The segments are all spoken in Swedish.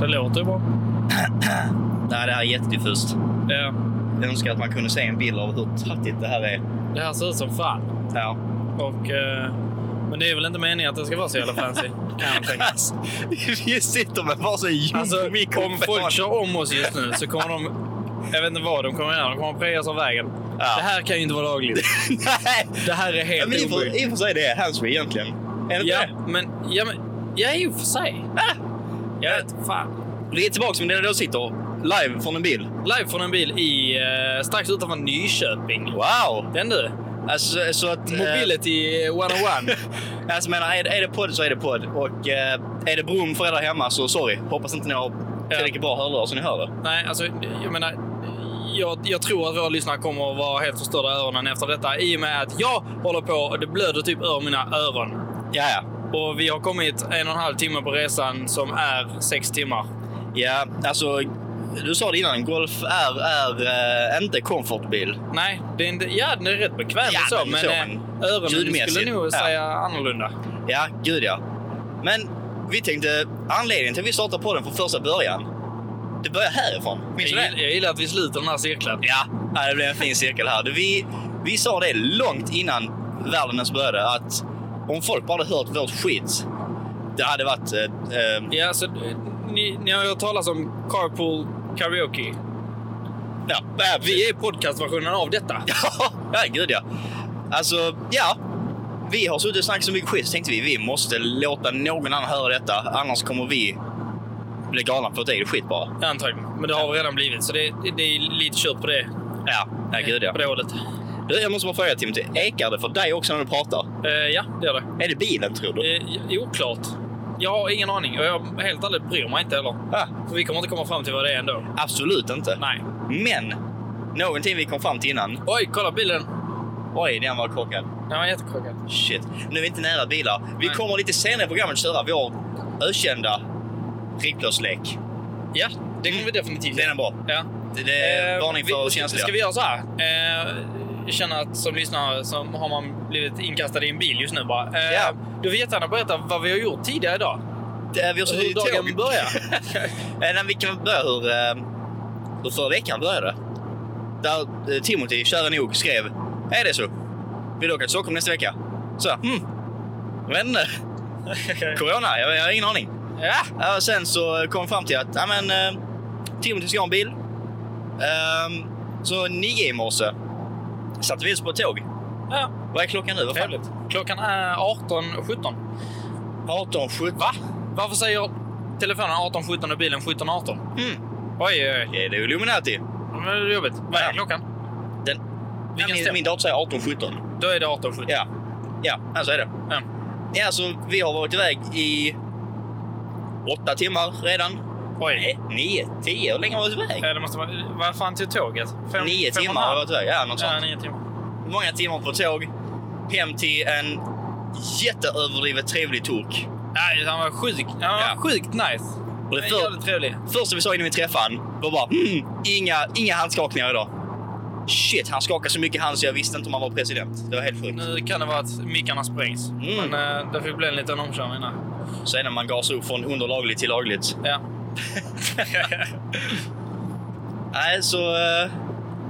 Det låter ju bra. Nej, det här är jättediffust. Ja. Jag önskar att man kunde se en bild av hur tattigt det här är. Det här ser ut som fan. Ja. Och, eh, men det är väl inte meningen att det ska vara så jävla fancy. Kan jag tänka. Alltså, vi sitter med varsin ljum Alltså, om folk mikrofon. kör om oss just nu så kommer de... Jag vet inte vad de kommer göra. De kommer prejas av vägen. Ja. Det här kan ju inte vara lagligt. Nej, Det här är Ja, helt men i och för- oskyldigt. i och för sig det är handsfree egentligen. Är det Ja, inte men... Ja, men... Ja, i och för sig. det? Jag vet fan. Ah, vi är tillbaka med den du sitter live från en bil. Live från en bil i, eh, strax utanför Nyköping. Wow! Den du. Alltså, så att... eh, Mobility 101. alltså, menar, är, det- är det podd så är det podd. Och eh, är det brom för er där hemma så sorry. Hoppas inte ni har tillräckligt bra hörlurar så ni hör det. Nej, alltså jag menar... Jag, jag tror att våra lyssnare kommer att vara helt förstörda i öronen efter detta i och med att jag håller på och det blöder typ ur mina öron. Ja, ja. Och vi har kommit en och en halv timme på resan som är sex timmar. Ja, alltså... Du sa det innan, Golf R är eh, inte komfortbil. Nej, det är inte, ja, den är rätt bekväm Ja, och så, den är men så, eh, men öronen ljudmässigt, skulle nog ja. säga annorlunda. Ja, gud ja. Men vi tänkte, anledningen till att vi startade podden från första början, det börjar härifrån. Jag, Minns du det? gill- jag gillar att vi sluter den här cirkeln. Ja, ja, det blev en fin cirkel här. Vi, vi sa det långt innan världen ens började att om folk bara hade hört vårt skit, det hade varit... Eh, eh, Ja, så, eh, ni, ni har ju hört talas om carpool karaoke. ja, ja, vi... Vi är podcastversionen av detta. ja, gud ja. Alltså, ja. Vi har suttit och snackat så mycket skit så tänkte vi vi måste låta någon annan höra detta, annars kommer vi bli galna på vårt eget skit bara. Ja, Antagligen. Men det har vi redan blivit, så det, det är lite kört på det, Ja, ja gud ja. på det hållet. Du, jag måste bara fråga Timothy, ekar det för dig också när du pratar? Eh, ja, det är det. Är det bilen tror du? Uh, oklart. Jag har ingen aning och jag helt ärligt bryr mig inte heller. Ja, För vi kommer inte komma fram till vad det är ändå. Ah, absolut inte. Nej. Men, någonting vi kom fram till innan Oj, kolla bilen! Oj, den var korkad. Den var jättekorkad. Shit. Nu är vi inte nära bilar. Vi Nej. kommer lite senare i programmet köra vår ökända prickblåslek. Ja, det kommer vi definitivt Den är bra. Ja. Det- Det är Eh, varning för vi- känsliga. Ska vi göra så här? Eh, jag känner att som lyssnare så har man blivit inkastad i en bil just nu bara. Eh, Ja. Du får jättegärna berätta vad vi har gjort tidigare idag. Alltså, Det är Eh, vi har suttit i Hur dagen tåg. börjar. Eh, Nej, vi kan börja hur, eh, hur förra veckan började. Där eh, Timothy, kära nog, skrev Är det så? Vill du åka till Stockholm nästa vecka? Så, hmm. Men, eh, corona? Jag, jag har ingen aning. ja. Ja, och sen så kom vi fram till att ja, men, eh, Timothy ska ha en bil. Ehm, så nio i morse satte vi oss på ett tåg. ja. Vad är klockan nu? Vad fan? Trevligt. Klockan är 18.17. 18.17. Va? Varför säger telefonen 18.17 och bilen 17.18? Mm. Oj, oj, oj. Det är det Illuminati. Men Det är jobbigt. Vad är Ja. klockan? Den, ja, stämmer? min, min dator säger 18.17. Då är det 18.17. Ja, ja så alltså är det. Ja. Ja, så vi har varit iväg i åtta timmar redan. Oj. Nej, nio, tio. Hur länge har vi varit iväg? Eh, Det måste vara... Vad fan till tåget? Fem, fem Nio och en timmar har vi halv? varit iväg. Ja, något sånt. Ja, nio timmar. Många timmar på tåg. Hem till en jätteöverdrivet trevlig turk. Nej, han var sjuk. Han var Ja. sjukt nice. Och det Men för- Jävligt trevlig. Första vi sa innan vi träffade han var bara mm, inga, inga handskakningar idag. Shit, han skakade så mycket hand så jag visste inte om han var president. Det var helt sjukt. Nu kan det vara att mickarna sprängs. Mm. Men eh, det fick bli en liten omkörning där. Sen när man gasar upp från underlagligt till lagligt. Ja. Nej, så... eh,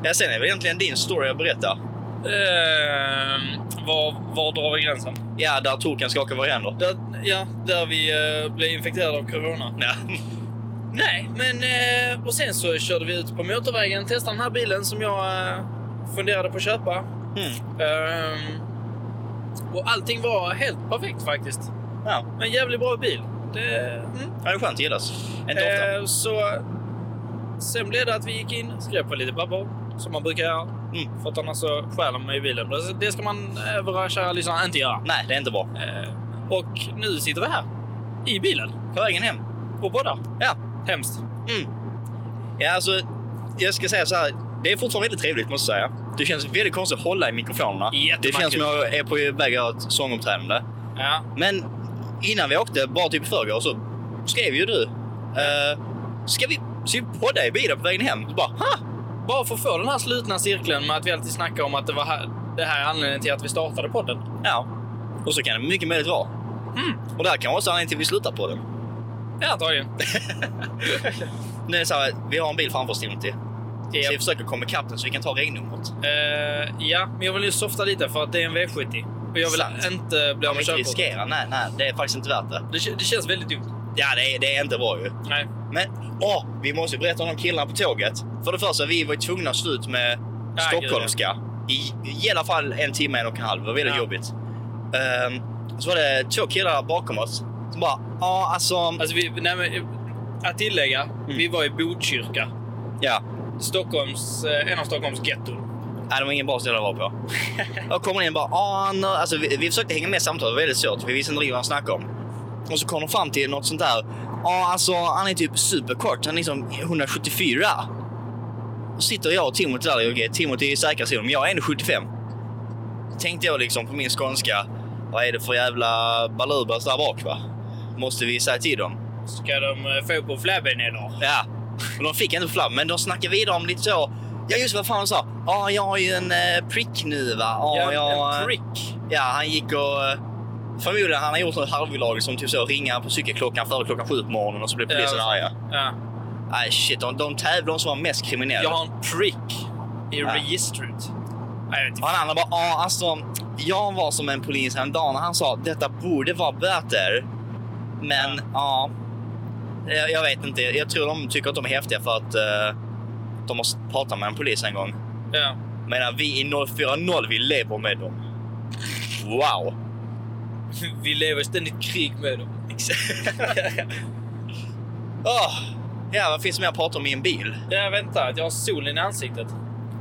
ja, sen är det egentligen din story att berätta. Ehm, var, var drar vi gränsen? Ja, där turken skakar våra händer. Där, ja, där vi eh, blev infekterade av corona. Ja. Nej, men eh, och sen så körde vi ut på motorvägen, testade den här bilen som jag eh, funderade på att köpa. Mm. Ehm, och allting var helt perfekt faktiskt. Ja. En jävligt bra bil. Det, mm. ja, det är skönt att gillas. Inte ofta. Eh, så sen blev det att vi gick in, skrev på lite papper, som man brukar göra. Mm. För att annars så stjäl de mig i bilen. Det- Det ska man eh, våra kära lyssnare inte göra. Nej, det är inte bra. Eh, och nu sitter vi här, i bilen, På vägen hem. och poddar. Ja. Hemskt. Mm. Ja, alltså, jag ska säga så här. Det är fortfarande väldigt trevligt, måste jag säga. Det känns väldigt konstigt att hålla i mikrofonerna. Det Jättemärkligt. känns som jag är på väg att göra ett sånguppträdande. Ja. Men innan vi åkte, bara typ i förrgår, så skrev ju du. eh, ska vi ska vi podda i bilen på vägen hem? Så bara, ha! Bara för att få den här slutna cirkeln med att vi alltid snackar om att det var här, det här är anledningen till att vi startade podden. Ja. Och så kan det mycket möjligt vara. Mm. Och det här kan vara också anledningen till att vi slutar på den. Ja, antagligen. Nu är det så här, vi har en bil framför oss Timothy. Så vi Japp. försöker komma ikapp den så vi kan ta regnumret. Eh, ja, men jag vill ju softa lite för att det är en V70. Och jag vill Sant. inte bli Ja, av men med inte körkortet. riskera. Nej, nej, det är faktiskt inte värt det. Det, kä- det känns väldigt dumt. Ja, det är, det är inte bra ju. Nej. Men åh, vi måste ju berätta om de killarna på tåget. För det första, vi var ju tvungna att sluta med Ja, stockholmska. I, I alla fall en timme, en och en halv. Det var väldigt Ja. jobbigt. Ehm, så var det två killar bakom oss som bara, ja alltså... Alltså, vi, nej, men, eh, att tillägga, Mm. vi var i Botkyrka. Ja, Stockholms, eh, en av Stockholms getton. nej, det var ingen bra ställe att vara på. Jag kommer in och bara, ja, no. alltså, vi, vi försökte hänga med i samtalet, det var väldigt svårt. Vi visste inte riktigt vad han snackade om. Och så kom de fram till något sånt där. Ja, alltså han är typ superkort. Han är liksom 174. Och sitter jag och Timothy där. Okej, Timothy är säkrast men jag är 175. Tänkte jag liksom på min skånska. Vad är det för jävla balubas där bak va? Måste vi säga till dem? Ska de eh, få på flabben eller? Ja, och de fick inte flam, men de snackade vidare om lite så. Ja, just vad fan de sa. Ja, jag har ju en eh, prick nu va. Ja, jag, eh, en prick. ja, han gick och... eh, Förmodligen han har gjort något halvbolag som typ så ringar på cykelklockan före klockan sju på morgonen och så blir polisen Ja. arga. Ja. Nej, shit. De, de tävlar om som var mest kriminella. Jag har en prick i Ja. registret. Nej, jag vet inte. Och han andra bara, ja alltså. Jag var som en polis häromdagen och han sa detta borde vara böter. Men ja. jag, jag vet inte. Jag tror de tycker att de är häftiga för att eh, de har pratat med en polis en gång. Ja. Medan vi i 040, vi lever med dem. Wow! Vi lever i ständigt krig med dem. Åh, ja, vad finns det mer att prata om i en bil? Ja, vänta. Jag har solen i ansiktet.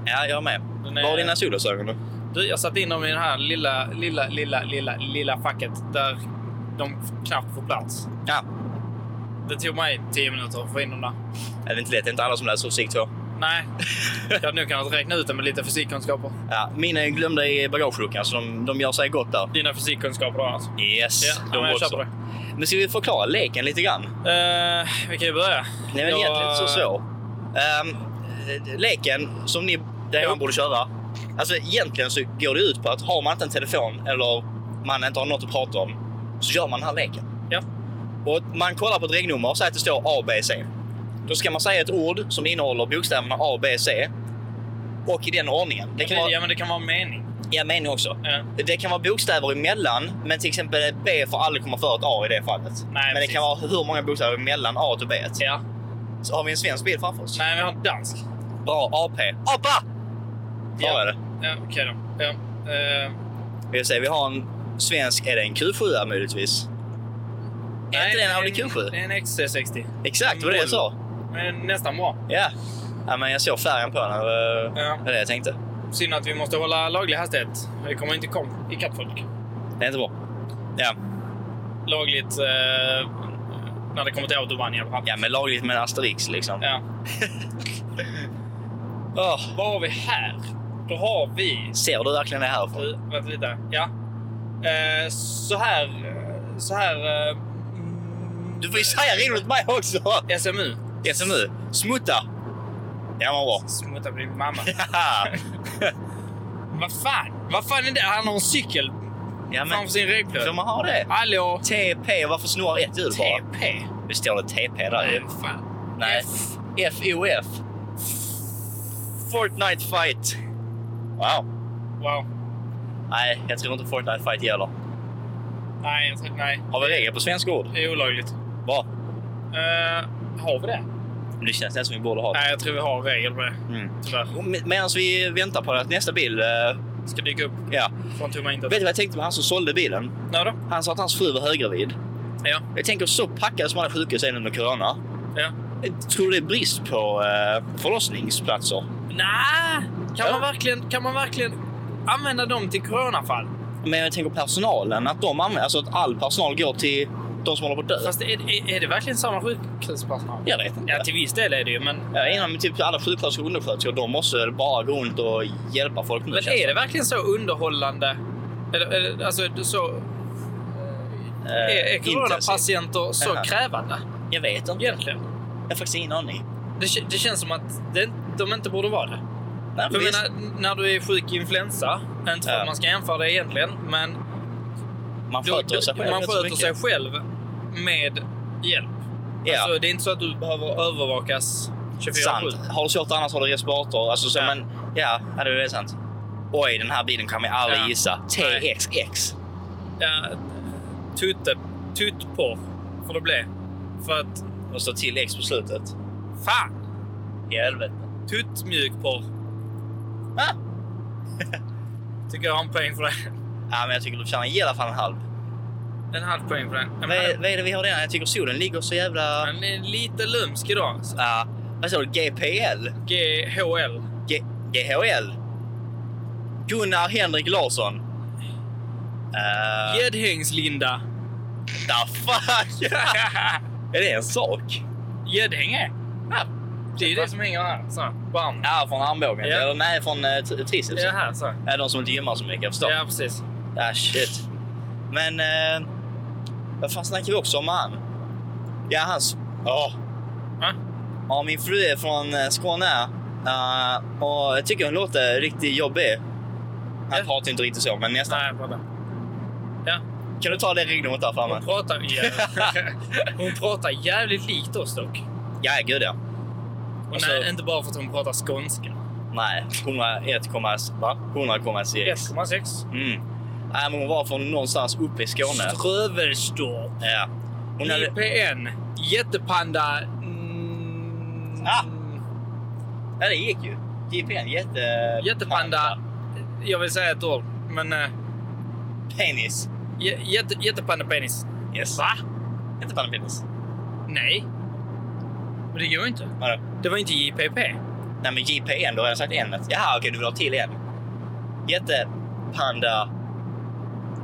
Ja, jag med. Den är- Var är dina solglasögon då? Du, jag satte in dem i det här lilla, lilla, lilla, lilla, lilla facket där de knappt får plats. Ja, Det tog mig 10 minuter att få in dem där. det är inte lätt. Det är inte alla som läser fysik 2. Nej, jag hade nog kunnat räkna ut det med lite fysikkunskaper. Ja, mina är glömda i bagageluckan, så de, de gör sig gott där. Dina fysikkunskaper då alltså? Yes, Ja, ja, de men jag också. köper det. Men ska vi förklara leken lite grann? Eh, vi kan ju börja. Det är väl Jag- egentligen inte så svår. Ehm, eh, leken som ni där man borde köra. Alltså egentligen så går det ut på att har man inte en telefon eller man inte har något att prata om så gör man den här leken. Ja. Och man kollar på ett regnummer och säger att det står A, B, C. Då ska man säga ett ord som innehåller bokstäverna A, B, C. Och i den ordningen. Det kan vara, Ja, men det kan vara en mening. Eh, ja, mening också. Ja. Det kan vara bokstäver emellan, men till exempel ett B får aldrig komma före ett A i det fallet. men det precis. kan vara hur många bokstäver mellan A och B. Ja. Så har vi en svensk bil framför oss. Nej, vi har en dansk. Bra AP. APA! Ja. Ja. Är det. Ja, Okej då. Ja. Eh, Vi, säger, vi har en svensk, är det en Q7 möjligtvis? är inte det en Audi Q7? Det är en XC60. Exakt, vad det jag sa. Men nästan bra. Ja. ja, men jag såg färgen på den. Det var Ja. det var det jag tänkte. Synd att vi måste hålla laglig hastighet. Vi kommer inte kom ikapp folk. Det är inte bra. Ja, Lagligt eh, när det kommer till autobahn i alla fall. ja men lagligt med en asterix liksom. Ja. Åh, Vad har vi här? Då har vi... ser du verkligen det härifrån? Du, Vänta lite. Ja. Eh, så här... eh, Så här... Eh, mm, Du får ju säga ring mot mig också! SMU. SMU. Smutta! Ja, vad bra. Smutta blir mamma. Haha. Vad fan? Vad fan är det? Han har en cykel ja, men framför sin får regplöt. man ha det? Hallå? TP, varför snurrar ett hjul bara? TP? Det står det TP där ju. Nej, fan. Nej. F. FOF. Fortnite fight. Wow. Wow. Nej, jag tror inte Fortnite fight gäller. Nej, jag tror- nej. Har vi regler på svenska ord? Det är olagligt. Bra. Eh, har vi det? Det känns nästan som vi borde ha det. Nej, jag tror vi har regel på det. Mm. Tyvärr. Och med- Medan vi väntar på att nästa bil... eh, Ska dyka upp ja. från tomma intet. Vet du vad jag tänkte på han som sålde bilen? Ja, då. Han sa att hans fru var höggravid. Ja. Jag tänker så packade som alla sjukhus är nu med corona. ja. Jag tror det är brist på eh, förlossningsplatser. Nej! Kan, Ja. man verkligen, kan man verkligen använda dem till coronafall? Men jag tänker personalen, att de använder, alltså att all personal går till de som håller på att dö. Fast är, är, är det verkligen samma sjukhuspersonal? Jag vet inte. Ja, till viss del är det ju, men... Ja, innan typ alla sjuksköterskor och undersköterskor, de måste bara gå runt och hjälpa folk nu. Men känns är det verkligen så underhållande? Eller, eller, alltså, det är så... Eh, Är, är intensivt. coronapatienter så Jaha. krävande? Jag vet inte. Egentligen. Jag har faktiskt ingen aning. Det, kä- det känns som att det, de inte borde vara det. Nej, För jag visst. menar, när du är sjuk i influensa, inte för Ja. att man ska jämföra det egentligen, men man då, sköter sig själv man rätt så sköter alltså, mycket. sig själv med hjälp. Ja. Alltså, det är inte så att du behöver övervakas 24-7. sant. Har du svårt annars har du respirator. Alltså, så, Ja. Men ja, ja, det är sant. Oj, den här bilen kan vi aldrig Ja. gissa. Nej. TXX. Ja, tutte, tuttporr får det bli. För att, Och så till X på slutet. fan! I helvete. Tuttmjukporr Ah! tycker jag har en poäng för det. Ja, men jag tycker du förtjänar i alla fall en halv. En halv poäng för den. Vad är, vad är det vi har redan? Jag tycker solen ligger så jävla... Han är lite lömsk idag. eh, alltså. Ja, vad sa du? GPL? GHL. G- GHL? Gunnar Henrik Larsson? Uh, Gäddhängslinda. the fuck? är det en sak? Gäddhänge? Ja. Det är ju det som hänger här. Så. På armen. Ja, från armbågen? Ja. Eller nej, från eh, t- triceps? Ja, här så. Ja, de som inte gymmar så mycket, jag förstår. Ja, precis. Ah, shit. Men... Eh, vad fan snackar vi också om han? Ja, hans... Ja. Va? Ja, min fru är från eh, Skåne. Eh, och jag tycker hon låter riktigt jobbig. Han Ja. pratar inte riktigt så, men nästan. Nej, vänta. Ja, Kan du ta det regnumret där framme? hon pratar, jävligt, hon pratar jävligt likt oss dock. Ja, gud ja. Och Alltså- nej, inte bara för att hon pratar skånska. Nej, 101,6. Va? 100,6. 1,6. Mm. Nej, men hon var från någonstans uppe i Skåne. Strövelstorp. Ja. Hon hade... IPN. Jättepanda. Mm, Ah. Ja, det gick ju. JPN, jätte... Jättepanda. Jag vill säga ett ord, men... eh, Penis. jä- jätte, jättepandapenis. Yes. Va? Inte pandapenis. Nej. Men det går ju inte. Vadå? Det var inte JPP. Nej men JPN, då har jag sagt N. Jaha, okej du vill ha till en. Jättepanda...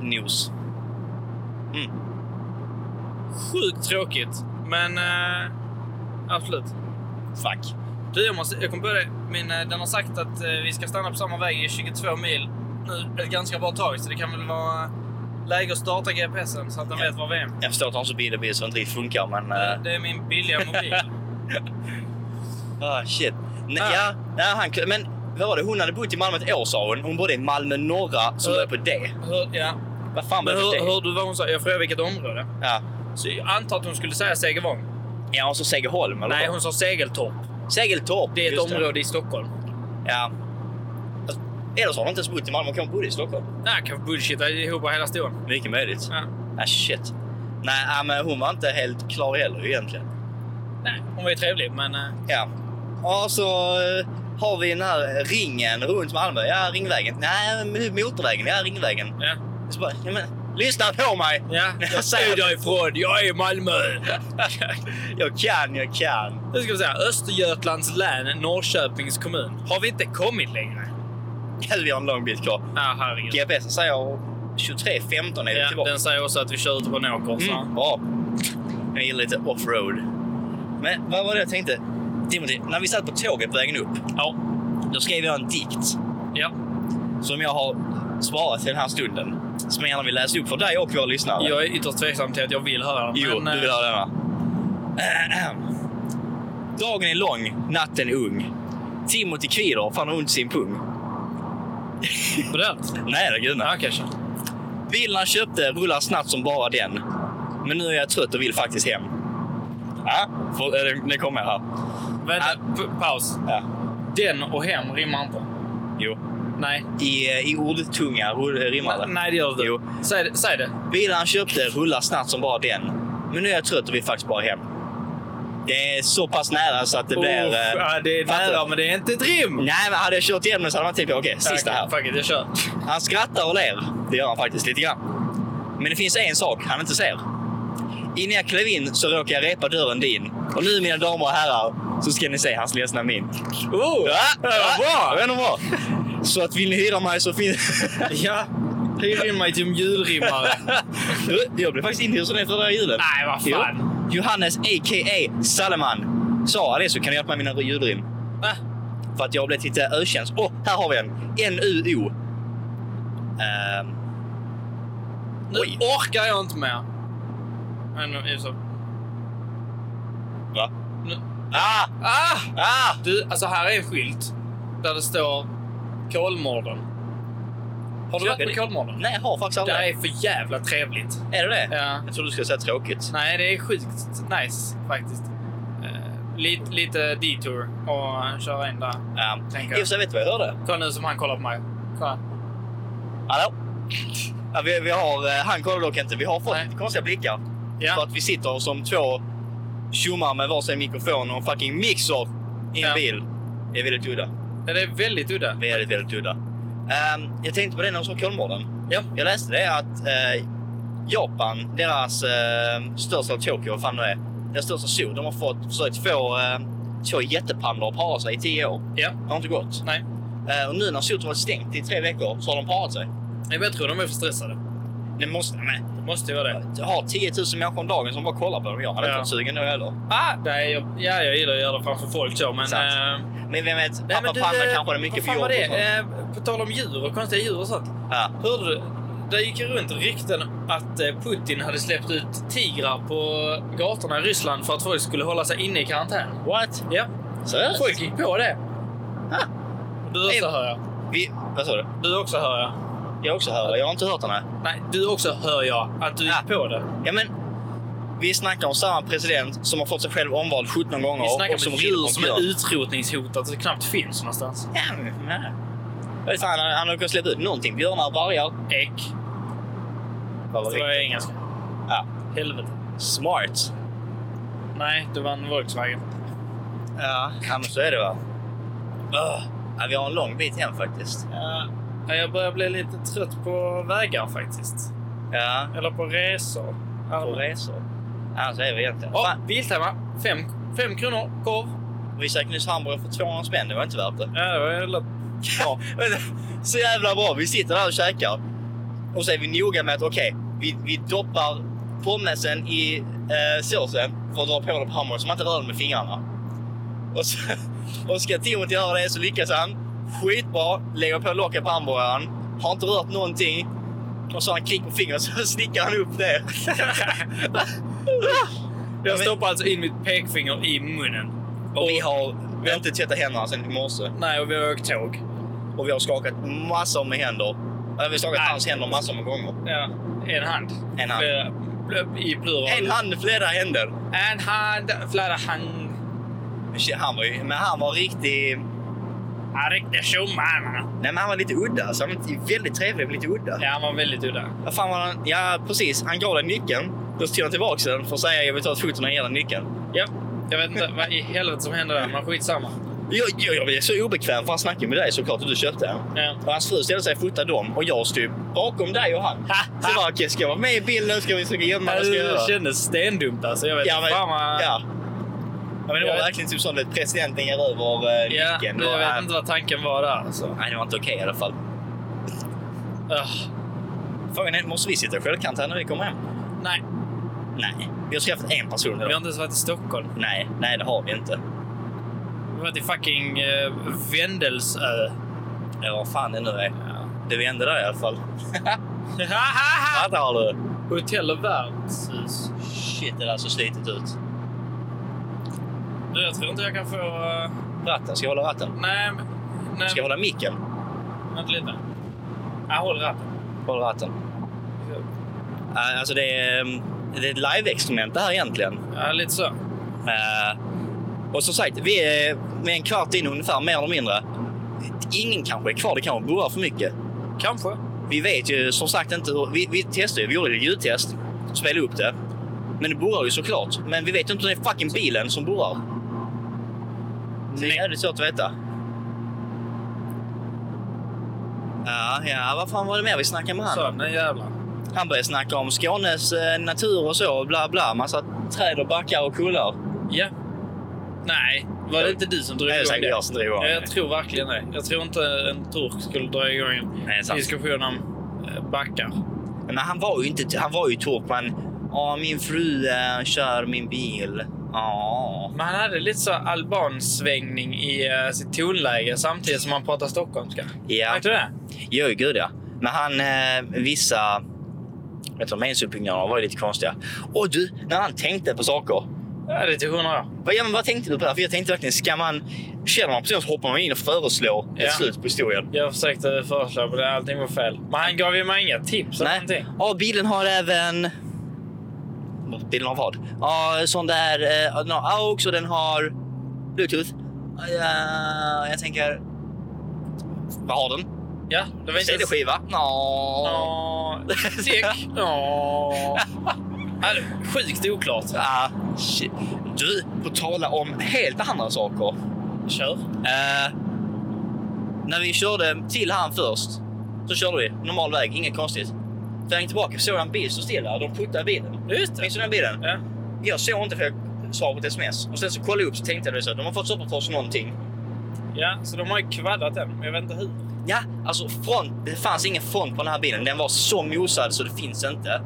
Nos. Sjukt tråkigt, men... eh, absolut. Fuck. Du, jag, måste, jag kom på det. Min, eh, den har sagt att eh, vi ska stanna på samma väg i 22 mil nu ett ganska bra tag, så det kan väl vara läge att starta GPSen så att den Ja. Eh. vet var vi är. Jag förstår att han så billig bil så inte riktigt funkar men... eh, Det är min billiga mobil. ah, shit. Nej, Ah. ja, nej, han, kl- men vad var det? Hon hade bott i Malmö ett år sa hon. Hon bodde i Malmö norra som Eh. började på D. Hur, ja. Vad fan Men började på D? hur, hörde du vad hon sa? Jag frågade vilket område. Ja. Så jag antar att hon skulle säga Segervång. ja, och så Segerholm eller Nej, vad? hon sa Segeltorp. Segeltorp. Det är ett just område i Stockholm. Ja. Alltså, Eller så har hon inte ens bott i Malmö och kanske bodde i Stockholm. Nej, jag kan bullshitta ihop hela historien. Mycket möjligt. Ja. Ah, shit. Nej, ja, men hon var inte helt klar heller egentligen. Nej, hon var ju trevlig, men... eh, Ja. Ja, så eh, har vi den här ringen runt Malmö. Ja, ringvägen. Nej, men motorvägen. Ja, ringvägen. Ja. Så bara, ja, men, lyssna på mig! Ja, jag säger därifrån. Jag är i Malmö. jag kan, jag kan. Nu ska vi säga Östergötlands län, Norrköpings kommun. Har vi inte kommit längre? Eller vi har en lång bit kvar. Ja, herregud. GPSen säger 23.15 är vi Ja, tillbaka. den säger också att vi kör ut på en åker. så- Mm, bra. Jag gillar lite offroad. Men vad var det jag tänkte? Timothy, när vi satt på tåget på vägen upp, Ja. då skrev jag en dikt ja. som jag har sparat till den här stunden. Som jag gärna vill läsa upp för dig och våra lyssnare. Jag är ytterst tveksam till att jag vill höra Jo, men, du vill eh, höra denna. Dagen är lång, natten ung. Timothy kvider för han har ont i sin pung. på det. här? Nej då, gud nej. Ja, kanske. Bilen han köpte rullar snabbt som bara den. Men nu är jag trött och vill faktiskt hem. Ja, för, eh, det- det kommer jag här. Vänta, Äh, p- paus. Ja. Den och hem rimmar inte. Jo. Nej. I, eh, i ordtunga rull- rimmar det. Nej, det gör det Jo. inte. Säg det. Säg det. Bilen han köpte rullar snabbt som bara den. Men nu är jag trött och vill faktiskt bara hem. Det är så pass nära så att det blir... Uff, eh, ja, det är fattar nära, du? men det är inte ett rim. Nej, men hade jag kört igenom det så hade man tänkt okej, sista Okej, här. Fuck it, jag kör. Han skrattar och ler. Det gör han faktiskt lite grann. Men det finns en sak han inte ser. Innan jag klev in så råkade jag repa dörren din. Och nu mina damer och herrar så ska ni se hans ledsna min. Oh, Ja, ja, ja, bra! det var bra. Så att vill ni hyra mig så finns... Ja. Hyr in mig till en julrimmare. Du, jag blev faktiskt inhysen efter den här julen. Nej, vad Jo. fan. Johannes a.k.a. Salman sa det så kan jag hjälpa mig med mina julrim. Va? För att jag blev lite ökänd. Åh, här har vi en! N-U-O. Ehm, Nu Oj. orkar jag inte mer. Men, nu är det så. va? Nu. Ah! Ah! Ah! Du, alltså här är en skylt där det står Kolmården. Har du varit på Kolmården? Nej, jag har faktiskt Det aldrig. här är för jävla trevligt. Är det det? Ja. Jag trodde du skulle säga tråkigt. Nej, det är sjukt nice faktiskt. Eh, lite, lite detour och köra in där. Ja. I Tänker och för jag. sig, Ehm, vet du vad jag hörde? Kolla nu som han kollar på mig. Kolla. Hallå? Ja, vi, vi har, eh, han kollar dock inte. Vi har fått Nej. konstiga blickar. För Ja. att vi sitter som två tjommar med varsin mikrofon och en fucking mixer i en Ja. bil. Det är väldigt udda. ja, det är väldigt udda. Väldigt, väldigt udda. Ehm, jag tänkte på det när du sa Kolmården. Ja. Jag läste det att eh, Japan, deras eh, största Tokyo, vad fan det är, deras största zoo, de har fått, försökt få eh, två jättepandor att para sig i tio år. Ja. Det har inte gått. Nej. Eh, och nu när zoot har varit stängt i tre veckor så har de parat sig. Nej, men Jag tror de är för stressade. Det måste, men, Det måste ju vara det. jag har 10 000 människor om dagen som bara kollar på dem. Jag hade Ja. inte varit sugen då heller. Ah, nej, jag, ja, jag gillar att göra det framför folk så, men... Sant. eh, Men vem vet, nej, pappa men du, Panda eh, kanske hade mycket för vad fan var jobb och sånt. det? Eh, På tal om djur och konstiga djur och sånt. Ja. Hörde du? Det gick ju runt rykten att eh, Putin hade släppt ut tigrar på gatorna i Ryssland för att folk skulle hålla sig inne i karantän. What? Ja, Seriöst? folk gick på det. Ah. Du också Eh. hör jag. Vi, vad sa du? Du också hör jag. Jag också hör det. Jag har inte hört den här. Nej, du också hör jag att du gick Ah. på det. Ja, men, vi snackar om samma president som har fått sig själv omvald 17 gånger. Vi snackar och som om ett rider på djur en som björn. är utrotningshotat och knappt finns någonstans. Ja, men, nej. Jag vet fan, han, han har kunnat släppa ut någonting. Björnar, vargar. Ek. Vad var Det det? var engelska. Ja. Helvete. Smart. Nej, det var en Volkswagen. Ja. men så är det va. Ugh. Ja, vi har en lång bit hem faktiskt. Ja, jag börjar bli lite trött på vägar faktiskt. Ja, Eller på resor. på resor. Annars är vi egentligen... Ja, Fan, Biltema. Fem, fem kronor korv. vi käkade nyss hamburgare för 200 spänn. Det var inte värt det. Ja, det var jävla... Ja, men, så jävla bra. Vi sitter där och käkar. Och så är vi noga med att okej, vi, vi doppar pommesen i eh, såsen för att dra på den på hammaren så man inte rör den med fingrarna. Och, så, och ska Timothy göra det så lyckas han. Skitbra. Lägger på locket på hamburgaren. Har inte rört någonting. Och så har han klick på fingret så slickar han upp det. Jag stoppar alltså in mitt pekfinger i munnen. Och vi har, vi har inte tvättat händerna sedan i morse. Nej, och vi har åkt tåg. Och vi har skakat massor med händer. Eller vi har skakat hans händer massor med gånger. Ja. En hand. En hand. Flera- pl- I plural. En hand, flera händer. En hand, flera hand. Shit, Han var ju, men han var riktig... Ja, riktigt tjommarna. Nej, men han var lite udda. Så han var väldigt trevlig, men lite udda. Ja, han var väldigt udda. Vad fan var han? Ja, precis. Han gav dig nyckeln. Då tog han tillbaka den för att säga jag vill ta ett foto när jag ger dig nyckeln. Ja, jag vet inte vad i helvete som hände där, men skitsamma. Jag, jag, jag blev så obekväm för han snackade med dig såklart och du köpte den. Ja. Och hans fru ställde sig och fotade dem och jag stod bakom dig och han. Så bara, okej, ska jag vara med i bilden? Ska vi försöka gömma? Vad ska jag Det göra? kändes stendumt alltså. Jag vet Ja, inte men, fan vad... ja. ja, men det Jag var vet- verkligen typ sånt att presidenten ger över eh, Ja, nyckeln. jag och, vet han- inte vad tanken var där alltså. Nej, det var inte okej i alla fall. Ugh, Frågan är, måste vi sitta i självkarantän när vi kommer hem? nej, Nej, vi har träffat en person vi har idag. inte ens varit i Stockholm. Nej, nej det har vi inte. Vi har varit i fucking eh, Vendelsö. Eller vad fan det nu är. Det vände där i alla fall. Hahaha! Vad har du? Hotell och värdshus. Shit, det där ser slitet ut. Du, jag tror inte jag kan få... eh, Ratten, ska jag hålla ratten? nej, men- nej. Ska jag hålla micken? Vänta lite. Ja, håll ratten. Håll ratten. Uh, alltså det är, ehm, det är ett live-experiment det här egentligen. Ja, lite så. Eh, och som sagt, vi är med en kvart in ungefär, mer eller mindre. Ingen kanske är kvar, det kanske burar för mycket. Kanske. Vi vet ju som sagt inte hur... Vi, vi testade ju, vi gjorde ett ljudtest. Spelade upp det. Men det borrar ju såklart. Men vi vet ju inte om det är fucking bilen som borrar. Så det är Nej. jävligt svårt att veta. Ja, ja, vad fan var det mer vi snackade med han Så, om? nu jävlar. Han började snacka om Skånes eh, natur och så, bla bla. Massa träd och backar och kullar. Ja. Nej, var det inte du som drog Det är igång säkert det? jag som driver Ja, om. jag tror verkligen det. Jag tror inte en turk skulle dra igång en Nej, sant. diskussion om eh, backar. Men han var ju inte... Han var ju Torpman. Ja, min fru eh, kör min bil. Ja. Men han hade lite så albansvängning i eh, sitt tonläge samtidigt som han pratade stockholmska. Ja. Märkte du det? Jo, gud ja. Men han, eh, vissa vet du, meningsuppbyggnader var ju lite konstiga. Och du, när han tänkte på saker. Ja, det tog 100 år. Vad, ja, men vad tänkte du på det? För jag tänkte verkligen, ska man... Känner man personen så hoppar man in och föreslår Ja. ett slut på historien. Jag försökte föreslå, men allting var fel. Men han gav ju mig inga tips eller någonting. Ja, bilen har även... Bilen har vad? Ja, sån där... Eh, no, aux och den har bluetooth. Ja, jag tänker... Vad har den? Ja, det var inte... ens- CD-skiva? Ja. Ja, Sek. Ja. Ja, det är Sjukt oklart. Ah, shit. Du, på tala om helt andra saker. Kör. Eh, när vi körde till han först så körde vi normal väg, inget konstigt. Vägen tillbaka såg jag en bil stå stilla och de puttade bilen. Just det. Minns du den bilen? Ja. Jag såg inte för jag svarade på ett sms. Och sen så kollade jag upp så tänkte jag det så här, de har fått stoppa för oss någonting. ja, så de har ju kvaddat den, men jag vet inte hur. Ja, alltså front, det fanns ingen front på den här bilen. Den var så mosad så det finns inte.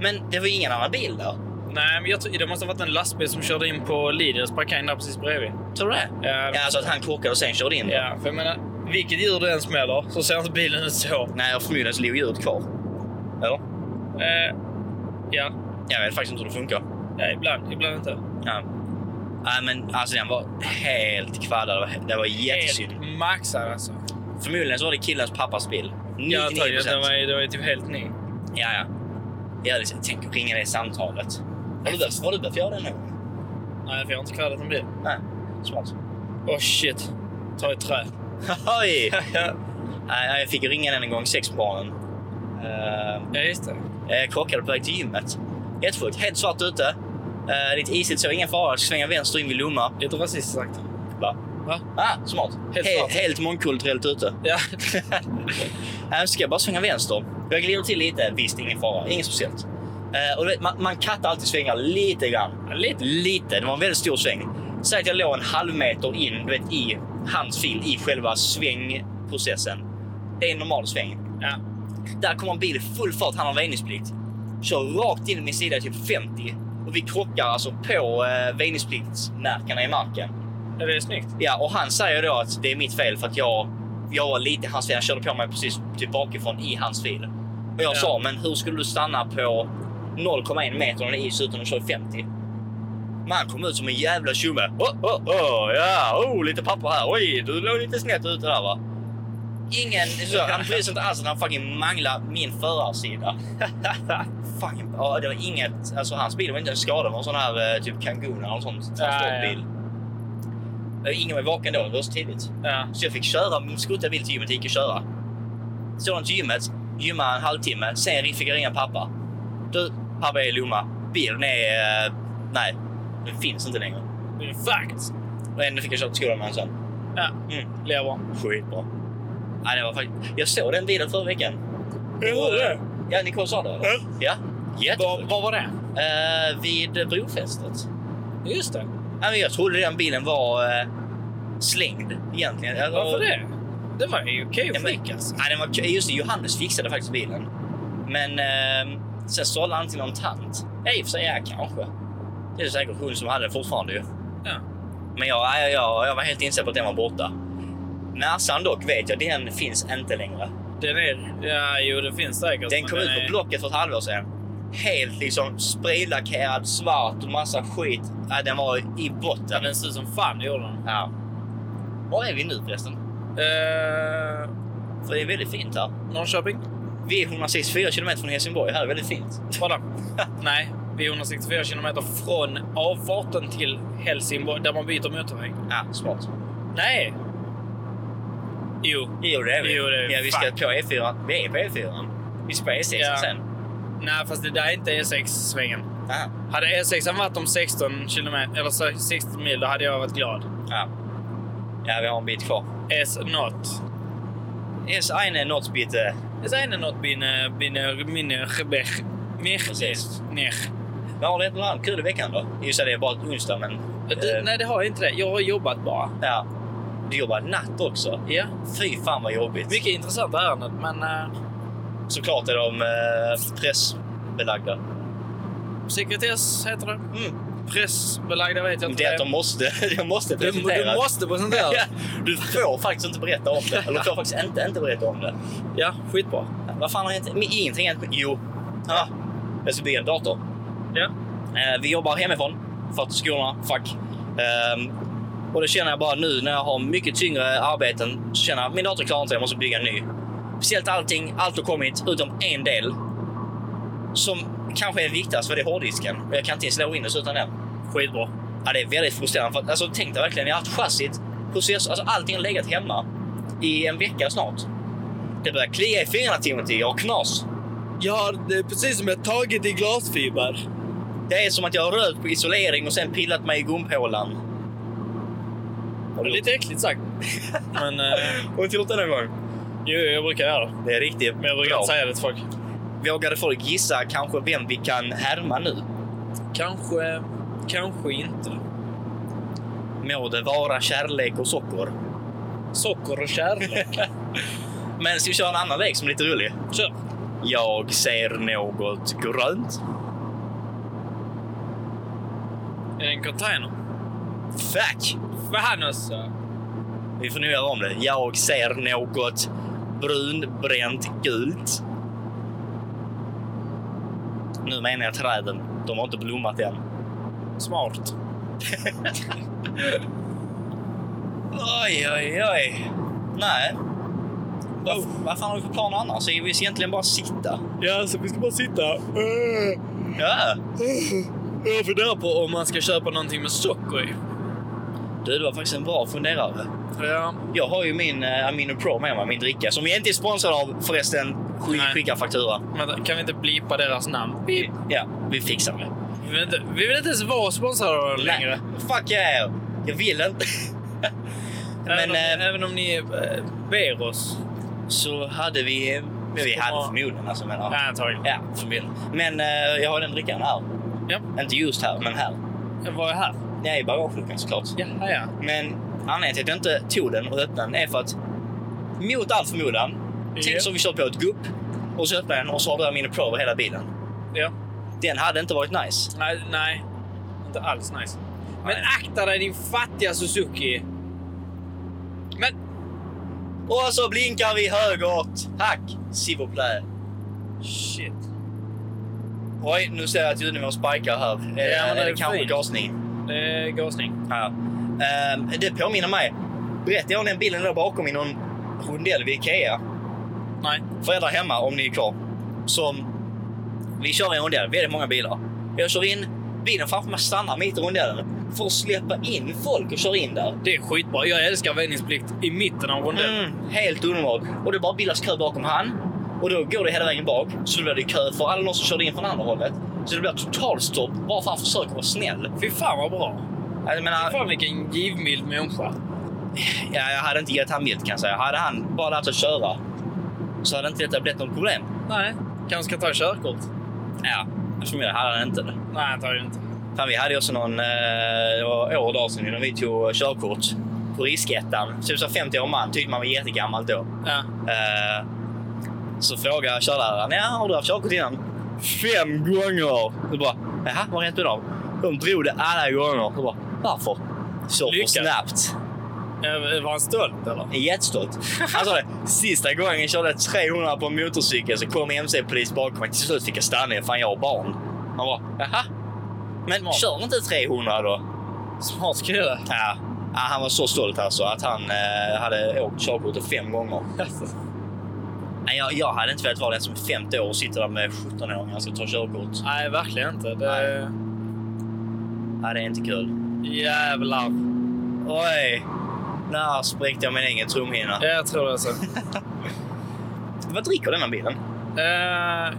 Men det var ingen annan bil där. Nej, men jag tror, det måste ha varit en lastbil som körde in på Lidls parkering där precis bredvid. Tror du det? Ja, Ja, alltså att han krockade och sen körde in. ja, för jag menar, vilket djur du än smäller så ser inte bilen ut så. Nej, och förmodligen så låg ljudet kvar. Eller? Eh, ja, Jag vet faktiskt inte hur det funkar. ja, ibland, ibland inte. Ja. Nej, men alltså den var helt kvaddad. Det var- Det var jättesynd. Helt maxad alltså. Förmodligen så var det killens pappas bil. 99 Ja, antagligen. Den var, ju- den var ju typ helt ny. Ja, ja. Jag liksom, tänk att ringa det samtalet. Har du behövt, har du behövt göra det nu? Nej, för jag har inte kvaddat en bil. Nej, smart. Åh shit. Ta i trä. Oj! Nej, jag fick ju ringa den en gång, sex på morgonen. Eh, ja, just det. jag krockade på väg till gymmet. Jättefullt, helt svart ute. Eh, lite isigt så, ingen fara. Jag ska svänga vänster in vid Lomma. Lite rasistiskt sagt. Va? Va? Ah, smart. Helt Helt, He- svart. helt mångkulturellt ute. Ja. Jag ska jag bara svänga vänster. Jag glider till lite. Visst, ingen fara. Inget speciellt. Eh, och du vet, man, man kattar alltid svängar lite grann. Lite. Lite. Det var en väldigt stor sväng. Säg att jag låg en halv meter in du vet, i hans fil i själva svängprocessen. Det är en normal sväng. Ja. Där kommer en bil i full fart. Han har väjningsplikt. Kör rakt in i min sida i typ 50. Och vi krockar alltså på eh, väjningspliktsmärkena i marken. Ja, Det är snyggt. Ja, och han säger då att det är mitt fel för att jag, jag var lite i hans fel. Jag körde på mig precis typ bakifrån i hans fil. Och jag Ja. sa, men hur skulle du stanna på 0,1 meter när det är is utan att köra 50? Men han kom ut som en jävla tjomme. Oh, oh, oh, ja, oh, lite papper här. Oj, du låg lite snett ute där va? Ingen, så, han bryr sig inte alls att han fucking manglar min förarsida. fucking, ja, det var inget, alltså hans bil var inte ens skadad. Det var en sån här eh, typ Kangoo eller någon sån transportbil. Ja, Ingen var vaken då, det var så tidigt. Ja. Så jag fick köra min skrotade bil till gymmet, gick och köra. Så jag till gymmet, gymma en halvtimme, sen fick jag ringa pappa. Du, pappa jag är i Lomma. Bilen är... eh, Nej, den finns inte längre. Det är facts. Och ändå fick jag köra till skolan med den sen. Ja. Mm. Det är bra. Skitbra. Nej, det var faktiskt... Jag såg den bilen förra veckan. Ja, Nicole sa det. eller? Ja. Ja. Var, Jättebra. var var det? Eh, vid brofästet. Just det. Ja, men Jag trodde den bilen var eh, slängd egentligen. Eller- Varför det? Det var ju okej Ja, men- skick alltså. Nej, den var, kul. just det, Johannes fixade faktiskt bilen. Men eh, sen sålde han till någon tant. Ja, i och för sig, ja, kanske. Det är säkert hon som hade den fortfarande ju. Ja. Men jag, jag, jag, jag var helt inställd på att den var borta. Näsan dock vet jag, den finns inte längre. Den är... Ja, jo det finns säkert. Den men kom ut på är- Blocket för ett halvår sedan. Helt liksom spraylackerad, svart och massa skit. Ja, den var i Ja, botten. den ser ut som fan gjorde den. Ja. Var är vi nu förresten? Eh, För det är väldigt fint här. Norrköping? Vi är 164 kilometer från Helsingborg. Här är väldigt fint. Vadå? Nej, vi är 164 kilometer från avfarten till Helsingborg där man byter motorväg. Ja, smart. Nej! Jo. Jo, det är vi. Jo, det är vi. ja, vi ska på E4. Vi är på E4. Vi ska på E6 Ja. sen. Nej, fast det där är inte E6-svängen. Aha. Hade E6 varit om 16 kilometer, eller så- 16 mil, då hade jag varit glad. E Ja. ja, vi har en bit kvar. Es not. Es eine not bitte. Es eine not bine, bine, mine, gebech, mich, Precis. nech. Men har du något annat kul i veckan då? Just det, det är bara onsdag men... Du, eh, nej, det har jag inte det. Jag har jobbat bara. ja. Du jobbar natt också. Ja. Fy fan vad jobbigt. Mycket intressanta ärenden, men eh, Såklart är de eh, pressbelagda. sekretess heter det. Mm. Pressbelagda vet jag inte. Det är att de måste, de måste Du, presentera. du måste presentera Ja, det. du får faktiskt inte berätta om det. Eller du får faktiskt inte, inte berätta om det. Ja, skitbra. Vad fan har hänt? Men Ingenting har hänt. Jo. Ja. Jag ska bygga en dator. Ja. Eh, Vi jobbar hemifrån. För att skorna, fuck. Ehm, och det känner jag bara nu när jag har mycket tyngre arbeten. Så känner jag min dator klarar inte det, jag måste bygga en ny. Speciellt allting, allt har kommit utom en del. Som kanske är viktigast, för det är hårddisken. Och jag kan inte ens slå Windows utan den. Skitbra. Ja, det är väldigt frustrerande. För att, alltså, tänk dig verkligen, jag har haft chassit, process, alltså, allting har legat hemma i en vecka snart. Det börjar klia i fingrarna Timothy, jag har knas. Ja, det är precis som jag tagit i glasfiber. Det är som att jag har rört på isolering och sen pillat mig i gumpålan. Har du gjort Lite äckligt sagt. Men eh, det? Har du inte gjort det någon gång? jo, jag brukar göra det. Det är riktigt Men jag brukar bra. inte säga det till folk. Vågade folk gissa kanske vem vi kan härma nu? Kanske, kanske inte. Må det vara kärlek och socker. Socker och kärlek. Men ska vi köra en annan lek som är lite rolig? Kör. Jag ser något grönt. Är det en container? Fuck! Fan alltså! Vi får nog göra om det. Jag ser något brunbränt gult. Nu menar jag träden. De har inte blommat än. Smart. Oj, oj, oj. Nej. Vad, Oh. vad fan har vi för plan annars? Ska vi egentligen bara sitta? Ja, så vi ska bara sitta. Eh, Ja. Jag funderar på om man ska köpa någonting med socker i. Du, det var faktiskt en bra funderare. Ja. Jag har ju min eh, Amino Pro med mig, min dricka, som jag inte är sponsrad av förresten. Sk- Nej. skicka faktura. Vänta, kan vi inte blipa deras namn? Vi Ja, vi fixar det. vi vill inte, vi vill inte ens vara sponsrade av dem längre. Nej, fuck er! Jag vill inte. även, Men om, eh, även om ni eh, ber oss. så hade vi... Vi Ska hade vara- förmodligen alltså, men ja. Nej, antagligen. Ja, förmodligen. Men eh, jag har den drickan här. Ja. Inte just här, men här. Vad är här? Nej, i bagageluckan såklart. Jaha, ja. Men anledningen till att jag inte tog den och öppnade den är för att mot all förmodan, tänk Ja. så vi kört på ett gupp och så öppnar jag den och så har du Amino Pro över hela bilen. ja. Den hade inte varit nice. Nej, nej. Inte alls nice. Men Nej. akta dig din fattiga Suzuki. Men Och så blinkar vi högåt. Hack, s'il vous plaît. shit. Oj, nu ser jag att ljudnivån spikar här. Ja, Ja, men det är är det kanske fint. gasning? Det är gasning. Ja. Ehm, det påminner mig. Berättade jag om den bilen där bakom i någon rondell vid Ikea? Nej. För er där hemma, om ni är kvar. Som... Vi kör i en rondell, väldigt många bilar. Jag kör in, bilen framför mig stannar mitt i rondellen för att släppa in folk och köra in där. Det är skitbra. Jag älskar väjningsplikt i mitten av rondellen. Mm, helt underbart. Och det bara bildas kö bakom han. Och då går det hela vägen bak. Så då blir det kö för alla de som körde in från andra hållet. Så det blir totalstopp bara för att han försöker vara snäll. Alltså, Fy fan vad bra. Jag menar, Fan vilken givmild människa. Ja, jag hade inte gett han milt kan jag säga. Hade han bara lärt sig köra så hade inte detta blivit något problem. Nej. Kanske ska ta körkort? Ja, förmodligen hade han inte det. Nej, antagligen inte. Fan, vi hade ju också någon eh, det var år och dag sedan innan vi tog körkort på riskettan. Typ så 50 år man, tyckte man var jättegammal då. Ja. Eh, så frågade körläraren, ja, har du haft körkort innan? Fem gånger! Du bara, jaha, vad rent du av? De drog det alla gånger. Du bara, varför? Så för Lyckat. snabbt. Eh, Var han stolt eller? är jättestolt. Han sa det, sista gången jag körde 300 på en motorcykel så kom MC-polis bakom mig. Till slut fick jag stanna, fan jag har barn. Han bara, jaha? Men Smart. kör inte 300 då? Smart kille. Ja. ja, han var så stolt alltså att han eh, hade åkt körkortet fem gånger. Nej, jag, jag hade inte velat vara den som är 50 år och sitter där med 17-åringar och ska ta körkort. Nej, verkligen inte. Det är... Ja, det är inte kul. Jävlar. Oj! Där spräckte jag min egen trumhinna. Ja, Jag tror det alltså. så. Vad dricker denna bilen? Eh,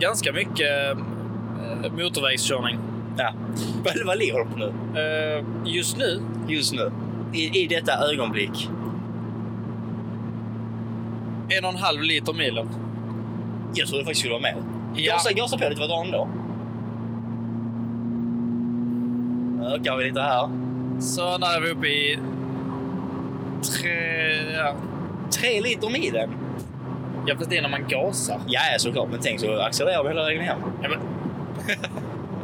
ganska mycket eh, motorvägskörning. Ja. Vad, vad lever de på nu? Eh, just nu? Just nu. I, i detta ögonblick. En och en halv liter milen. Jag trodde faktiskt skulle vara med. Ja. Gasa, gasa på lite, vad drar den då? Nu ökar vi lite här. Så när är vi uppe i... Tre... Ja. Tre liter milen. Jag vet inte när man gasar. Ja, ja, såklart. Men tänk så accelererar vi hela vägen hem. Ja, men...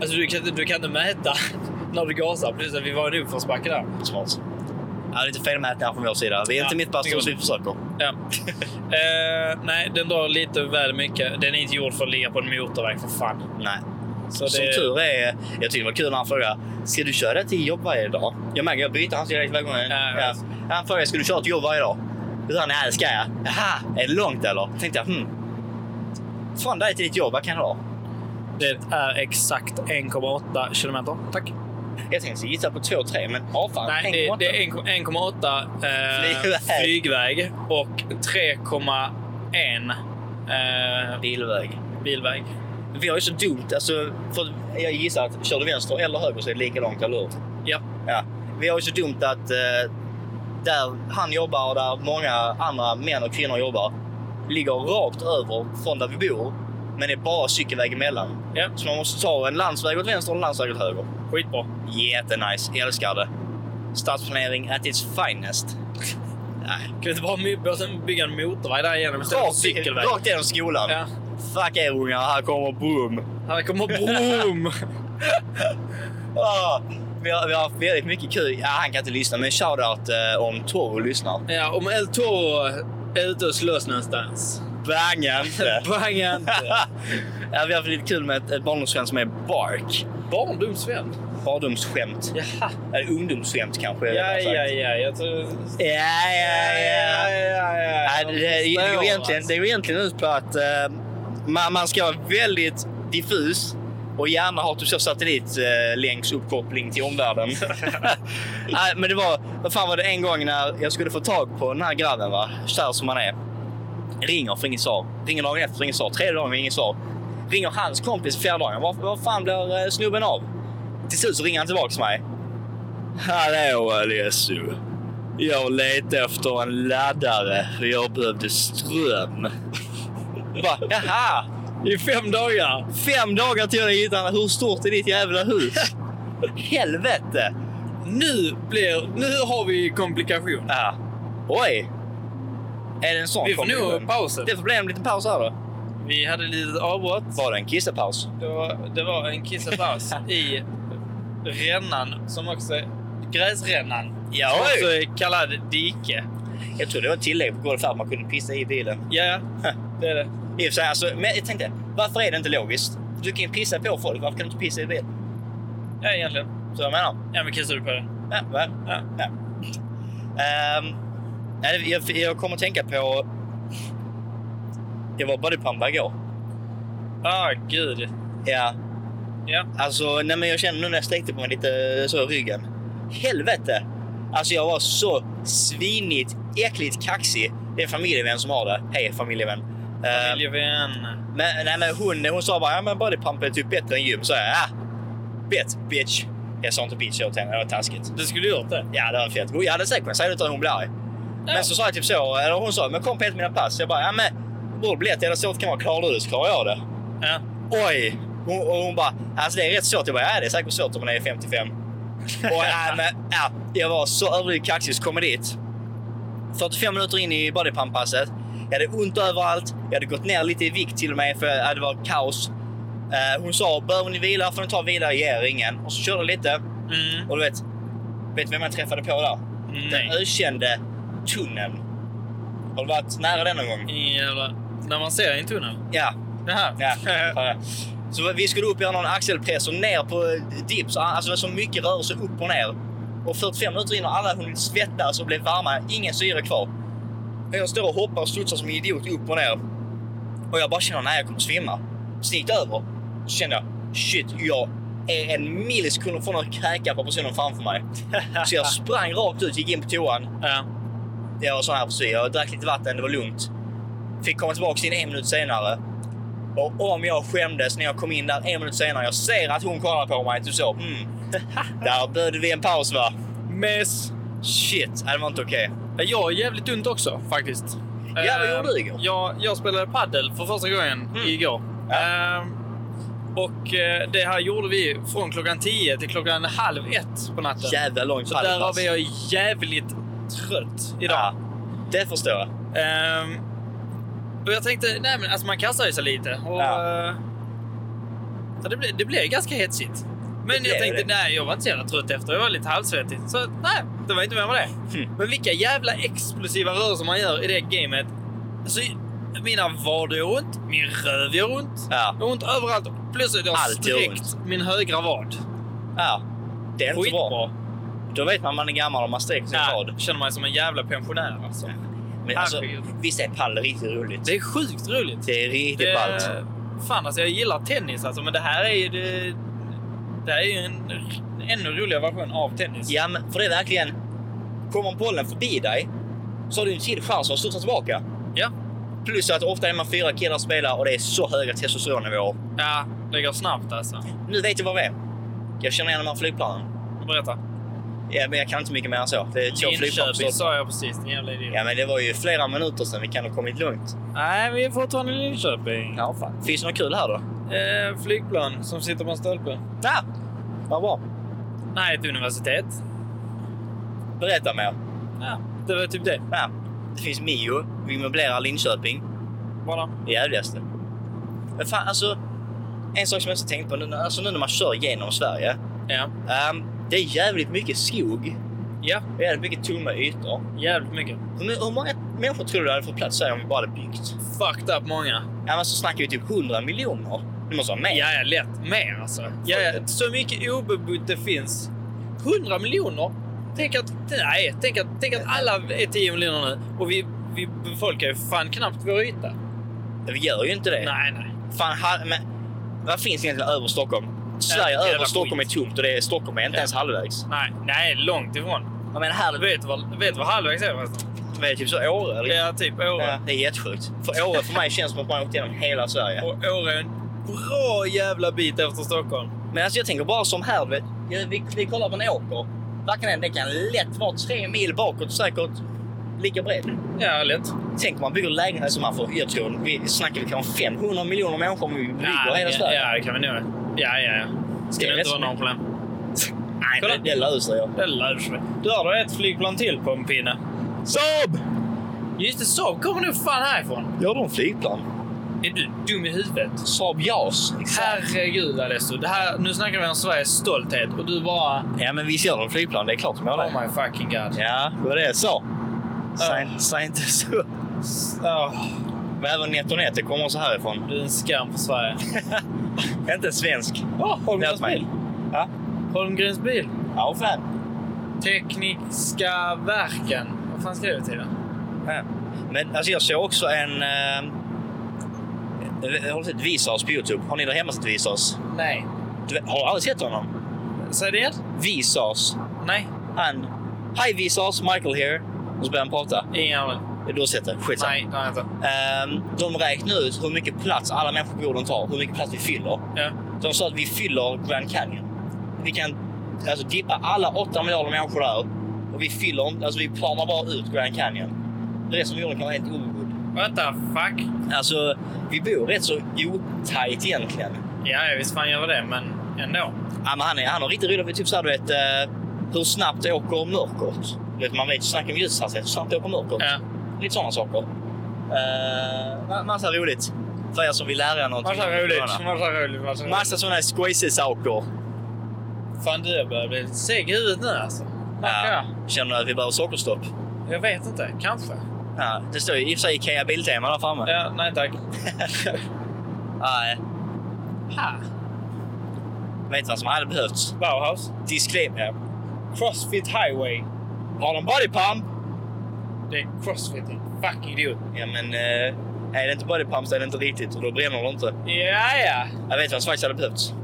Alltså du kan, inte- du kan inte mäta när du gasar. Plus att vi var i en uppförsbacke där. Smart. Ja, lite felmätningar från vår sida. Vi är Ja, inte mittpastor, så vi försöker. Ja. Eh, nej, den drar lite väl mycket. Den är inte gjord för att ligga på en motorväg för fan. Nej. Så det, Som tur är, jag tyckte det var kul när han frågade Ska du köra till jobb varje dag? Jag märker jag byter hans dialekt varje gång. Ja, Ja. Han frågade Ska du köra till jobb varje dag? Då sa han nej det ska jag. Jaha, är det långt eller? Tänkte jag hmm. Från dig till ditt jobb, vad kan det vara? det är exakt 1,8 kilometer. Tack. Jag tänkte gissa på 2-3 men ja fan. Nej, det, 1,8. det är 1,8 eh, Flygväg. flygväg och 3,1 eh, Bilväg. bilväg. Vi har ju så dumt, alltså, för jag gissar att kör du vänster eller höger så är det likadant, eller hur? Ja. ja. Vi har ju så dumt att eh, där han jobbar och där många andra män och kvinnor jobbar ligger rakt över från där vi bor, men det är bara cykelväg emellan. Ja. Så man måste ta en landsväg åt vänster och en landsväg åt höger. Skitbra. Jättenice, älskar det. Stadsplanering at its finest. Nej. Kan vi inte bara my- börja bygga en motorväg där igenom istället för en Rakt, cykelväg? rakt genom skolan. Ja. Fuck er ungar, här kommer boom. Här kommer brom! Ah, vi, har, vi har haft väldigt mycket kul. Ja, han kan inte lyssna, men shoutout eh, om Toro lyssnar. ja, om El Toro är ute och slåss någonstans. Banga inte! Banga inte! ja, vi har haft lite kul med ett, ett barndomsskämt som är Bark. Barndomsvän. Barndomsskämt. Jaha. Eller ungdomsskämt kanske. Ja, rättare sagt. ja, ja. Jag tror... ja, ja, ja. alltså. ja. Nej, det, det, det, går egentligen, det går egentligen ut på att eh, man, man ska vara väldigt diffus och gärna ha typ så satellitlänkuppkoppling till omvärlden. Nej, men det var, vad fan var det en gång när jag skulle få tag på den här grabben, va? kär som han är. Ringer, får inget svar. Ringer dagen efter, får inget svar. Tredje dagen, inget svar. Ringer hans kompis för fjärde dagen. Vad, vad fan blir eh, snubben av? Till slut så ringer han tillbaka till mig. Hallå Alessio. Jag letade efter en laddare för jag behövde ström. Bara, Jaha! I fem dagar! Fem dagar till jag hittade Hur stort är ditt jävla hus? Helvete! Nu blir... Nu har vi komplikation. Ja. Oj! Är det en sån Vi får kombination? nog pausen. Det får bli en liten paus här då. Vi hade ett litet avbrott. Var det en kissepaus? Det var, det var en kissepaus i rännan som också... Gräsrännan. Ja, som oj. också är kallad dike. Jag tror det var ett tillägg på golvet för att man kunde pissa i bilen. Ja, det är det. I och för sig, alltså, men jag tänkte, varför är det inte logiskt? Du kan ju pissa på folk, varför kan du inte pissa i bil? Ja, egentligen. Så jag menar. Ja, men kissar du på den? Ja, va? Ja. Ja. Ehm, nej, jag, jag kommer att tänka på... Jag var bodypumpa igår. Ah, gud. Ja. Ja. Alltså, nej, men jag känner nu när jag sträckte på mig lite eh, så i ryggen. Helvete! Alltså jag var så svinigt, äckligt kaxig. Det är en familjevän som har det. Hej familjevän. Ehm, Familjevän. Men, nej, men hon, eh, hon sa bara ja, men bodypump är typ bättre än gym. Så jag ah, bet, bitch. Jag sa inte bitch åt henne, det var taskigt. Du skulle gjort det. Ja, det var fett. Jag hade säkert kunnat säga det utan hon blir arg. Men så sa jag typ så, eller hon sa men kom på ett av mina pass. Jag bara, ja men bror biljett eller så kan man klarar du det så klarar jag det. Ja. Oj! Hon, och hon bara, alltså det är rätt svårt. Jag bara, ja det är säkert svårt om man är 55. och ja, men, ja, jag var så överdrivet kaxig så kom jag dit. 45 minuter in i bodypump-passet. Jag hade ont överallt. Jag hade gått ner lite i vikt till och med för ja, det var kaos. Eh, hon sa, behöver ni vila får ni ta och vila, ge er ingen. Och så körde jag lite. Mm. Och du vet, vet du vem jag träffade på där? den Nej. ökände tunneln. Har du varit nära den någon gång? Jävla... När man ser i en tunnel. Ja. Jaha. ja. ja. Så vi skulle upp och göra någon axelpress och ner på eh, dips. Alltså det var så mycket rörelse upp och ner. Och 45 minuter in har alla hunnit svettas och blev varma. Ingen syre kvar. Och Jag står och hoppar och studsar som en idiot upp och ner. Och jag bara känner, nej jag kommer svimma. Så gick det över. Så kände jag, shit, jag är en millisekund från att kräka på personen framför mig. Så jag sprang rakt ut, gick in på toan. Ja. Jag var sån här frisyr. Jag drack lite vatten, det var lugnt. Fick komma tillbaka in en minut senare. Och om jag skämdes när jag kom in där en minut senare. Jag ser att hon kollar på mig. Typ så. Mm. Där bjöd vi en paus va? Mess. Shit, nej, det var inte okej. Ja, Jag har jävligt ont också faktiskt. Ja, vad Eh, gjorde du igår? Mm. Jag, jag spelade paddel för första gången igår. Eh, och eh, det här gjorde vi från klockan 10 till klockan halv ett på natten. Jävla långt Så där padelpass. var jag jävligt trött idag. Ja, det förstår jag. Ehm, och jag tänkte, nej men alltså man kastar ju sig lite. Och, Ja. eh, ja, det, blev, det blev ganska hetsigt. Men blev jag tänkte, det. nej jag var inte så jävla trött efter. Jag var lite halvsvettig. Så nej, det var inte mer med det. Hmm. Men vilka jävla explosiva rörelser man gör i det gamet. Alltså, mina vader gör ont, min röv gör ont. Ja. Det gör ont överallt. Plötsligt har jag Allt gör sträckt min högra vad. Ja. Det är inte bra. Skitbra. Då vet man man är gammal om man sträcker sin Nej, rad. jag känner mig som en jävla pensionär alltså. Men alltså, Herregud. visst är padel riktigt roligt? Det är sjukt roligt. Det är riktigt ballt. Fan alltså, jag gillar tennis alltså, men det här är ju... Det, det här är ju en ännu roligare version av tennis. Ja, men för det är verkligen... Kommer bollen förbi dig så har du en till chans att studsa tillbaka. Ja. Plus att ofta är man fyra killar och spelar och det är så höga testosteronnivåer. Ja, det går snabbt alltså. Nu vet jag vad det är. Jag känner igen de här flygplanen. Berätta. Ja, men jag kan inte mycket mer än så. Det är två flygplan på Linköping stort. sa jag precis, din jävla idiot. Ja, men det var ju flera minuter sedan. Vi kan ha kommit lugnt. Nej, vi är fortfarande i Linköping. Ja, fan. Finns det något kul här då? Eh, flygplan som sitter på en stolpe. Ja! Vad bra. Nej, ett universitet. Berätta mer. Ja, det var typ det. Ja. Det finns Mio. Vi möblerar Linköping. Bara. Det jävligaste. Men fan, alltså. En sak som jag också tänkt på nu, när- alltså nu när man kör genom Sverige. Ja. Ehm, det är jävligt mycket skog. Ja. Och jävligt mycket tomma ytor. Jävligt mycket. Hur, hur många människor tror du hade fått plats här om vi bara hade byggt? Fucked up många. Ja, men så snackar vi typ 100 miljoner. Det måste vara mer. Ja, ja, lätt. Mer alltså. Ja, ja. Så mycket obebott det finns. 100 miljoner? Tänk att, nej, tänk att, tänk att alla är 10 miljoner nu. Och vi, vi befolkar ju fan knappt vår yta. Men Vi gör ju inte det. Nej, nej. Fan, ha, men, vad finns egentligen över Stockholm? Sverige jävla över Stockholm skit. är tomt och det är, Stockholm är inte Ja. ens halvvägs. Nej, nej, långt ifrån. Jag menar, här Vet du vad, vet du vad halvvägs är förresten? är det typ så Åre. Eller? Ja, typ Ja, Åre. Det är jättesjukt. För Åre för mig känns som att man har åkt igenom hela Sverige. Och Åre är en bra jävla bit efter Stockholm. Men alltså jag tänker bara som här, du vet, Ja, vi, vi kollar på en åker. Där kan den, det kan lätt vara tre mil bakåt säkert, lika bred. Ja, lätt. Tänk om man bygger lägenheter som man får, jag tror, vi snackar vi kan om 500 miljoner människor om vi bygger Ja, hela ja, Sverige. Ja, det kan vi nog. Ja, ja, ja. Ska Det är det inte vara rätt några problem. Nej, Kolla. det, det löser jag. Det lär sig. Du har då ett flygplan till på en pinne. Saab! Just det, Saab kommer nog fan härifrån. Gör de flygplan? Är du dum i huvudet? Saab JAS. Herregud Alessio, det här, nu snackar vi om Sveriges stolthet och du bara... Ja, men visst gör de flygplan, det är klart de gör det. Oh my fucking god. Ja, det var det jag sa. Ja. Säg- Säg inte så. Åh, Men även NetOnNet, det kommer så härifrån. du är en skam för Sverige. inte svensk. Oh, Låt mig. Ja. Holmgrens bil. Ja, fan. Tekniska verken. Vad fan skrev jag till den? Ja. Men alltså jag såg också en... Eh, jag har sett Visas på Youtube. Har ni där hemma sett Visas? Nej. Du vet, har du aldrig sett honom? Säg det igen. Visas. Nej, Han... Hi Visas, Michael here. Och så börjar han prata. ingen aning. Du har sett det? Skitsamma. Nej, det har jag inte. Ehm, de räknar ut hur mycket plats alla människor på jorden tar. Hur mycket plats vi fyller. Ja. De sa att vi fyller Grand Canyon. Vi kan alltså, dippa alla 8 miljarder människor där. Och vi fyller inte- alltså vi planar bara ut Grand Canyon. Det är som jorden kan vara helt obebodd. What the fuck? Alltså, vi bor rätt så otajt egentligen. Ja, ja, visst fan gör vi det, men ändå. Ja, men han, är, han har riktigt roligt. Typ såhär, du vet, eh, hur snabbt åker mörkret? Du vet, man vet, snackar om ljushastighet, hur snabbt åker mörkret? Ja. Lite sådana saker. Uh, ma- massa roligt. För er som vill lära er någonting. Massa roligt, massa roligt, massa roligt. Massa sådana här skojsiga saker. Fan du, jag börjar bli lite seg i huvudet nu alltså. Varför Ja. Känner du att vi behöver sockerstopp? jag? Jag vet inte, kanske. Ja, det står ju i och för sig Ikea Biltema där framme. Ja, nej tack. Nej, Ha. vet du vad som hade behövts? Bauhaus. Disclaimer. Crossfit Highway. Har de bodypump? Det är crossfitting. Fuck idiot. Ja, men eh, är det inte bodypump så är det inte riktigt och då bränner det inte. Ja, ja. Jag vet vad som faktiskt hade behövts.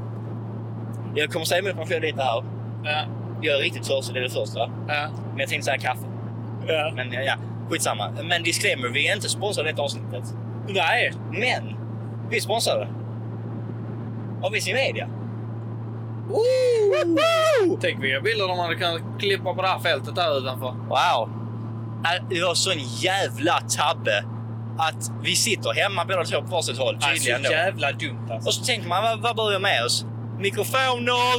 Jag kommer säga min pension lite här. Ja, Jag är riktigt törstig, det är det första. ja, Men jag tänkte säga kaffe. ja. Men ja, ja, skitsamma. Men disclaimer, vi är inte sponsrade i detta avsnittet. Nej. Men vi är sponsrade. Av Visit Media. Woho! Tänk vilka bilder de hade kunnat klippa på det här fältet där utanför. Wow! Äh, Det var sån jävla tabbe att vi sitter hemma båda två på varsitt håll. Äh, Tydligen då. jävla dumt alltså. Och så tänker man, vad, vad behöver jag med oss? Mikrofoner,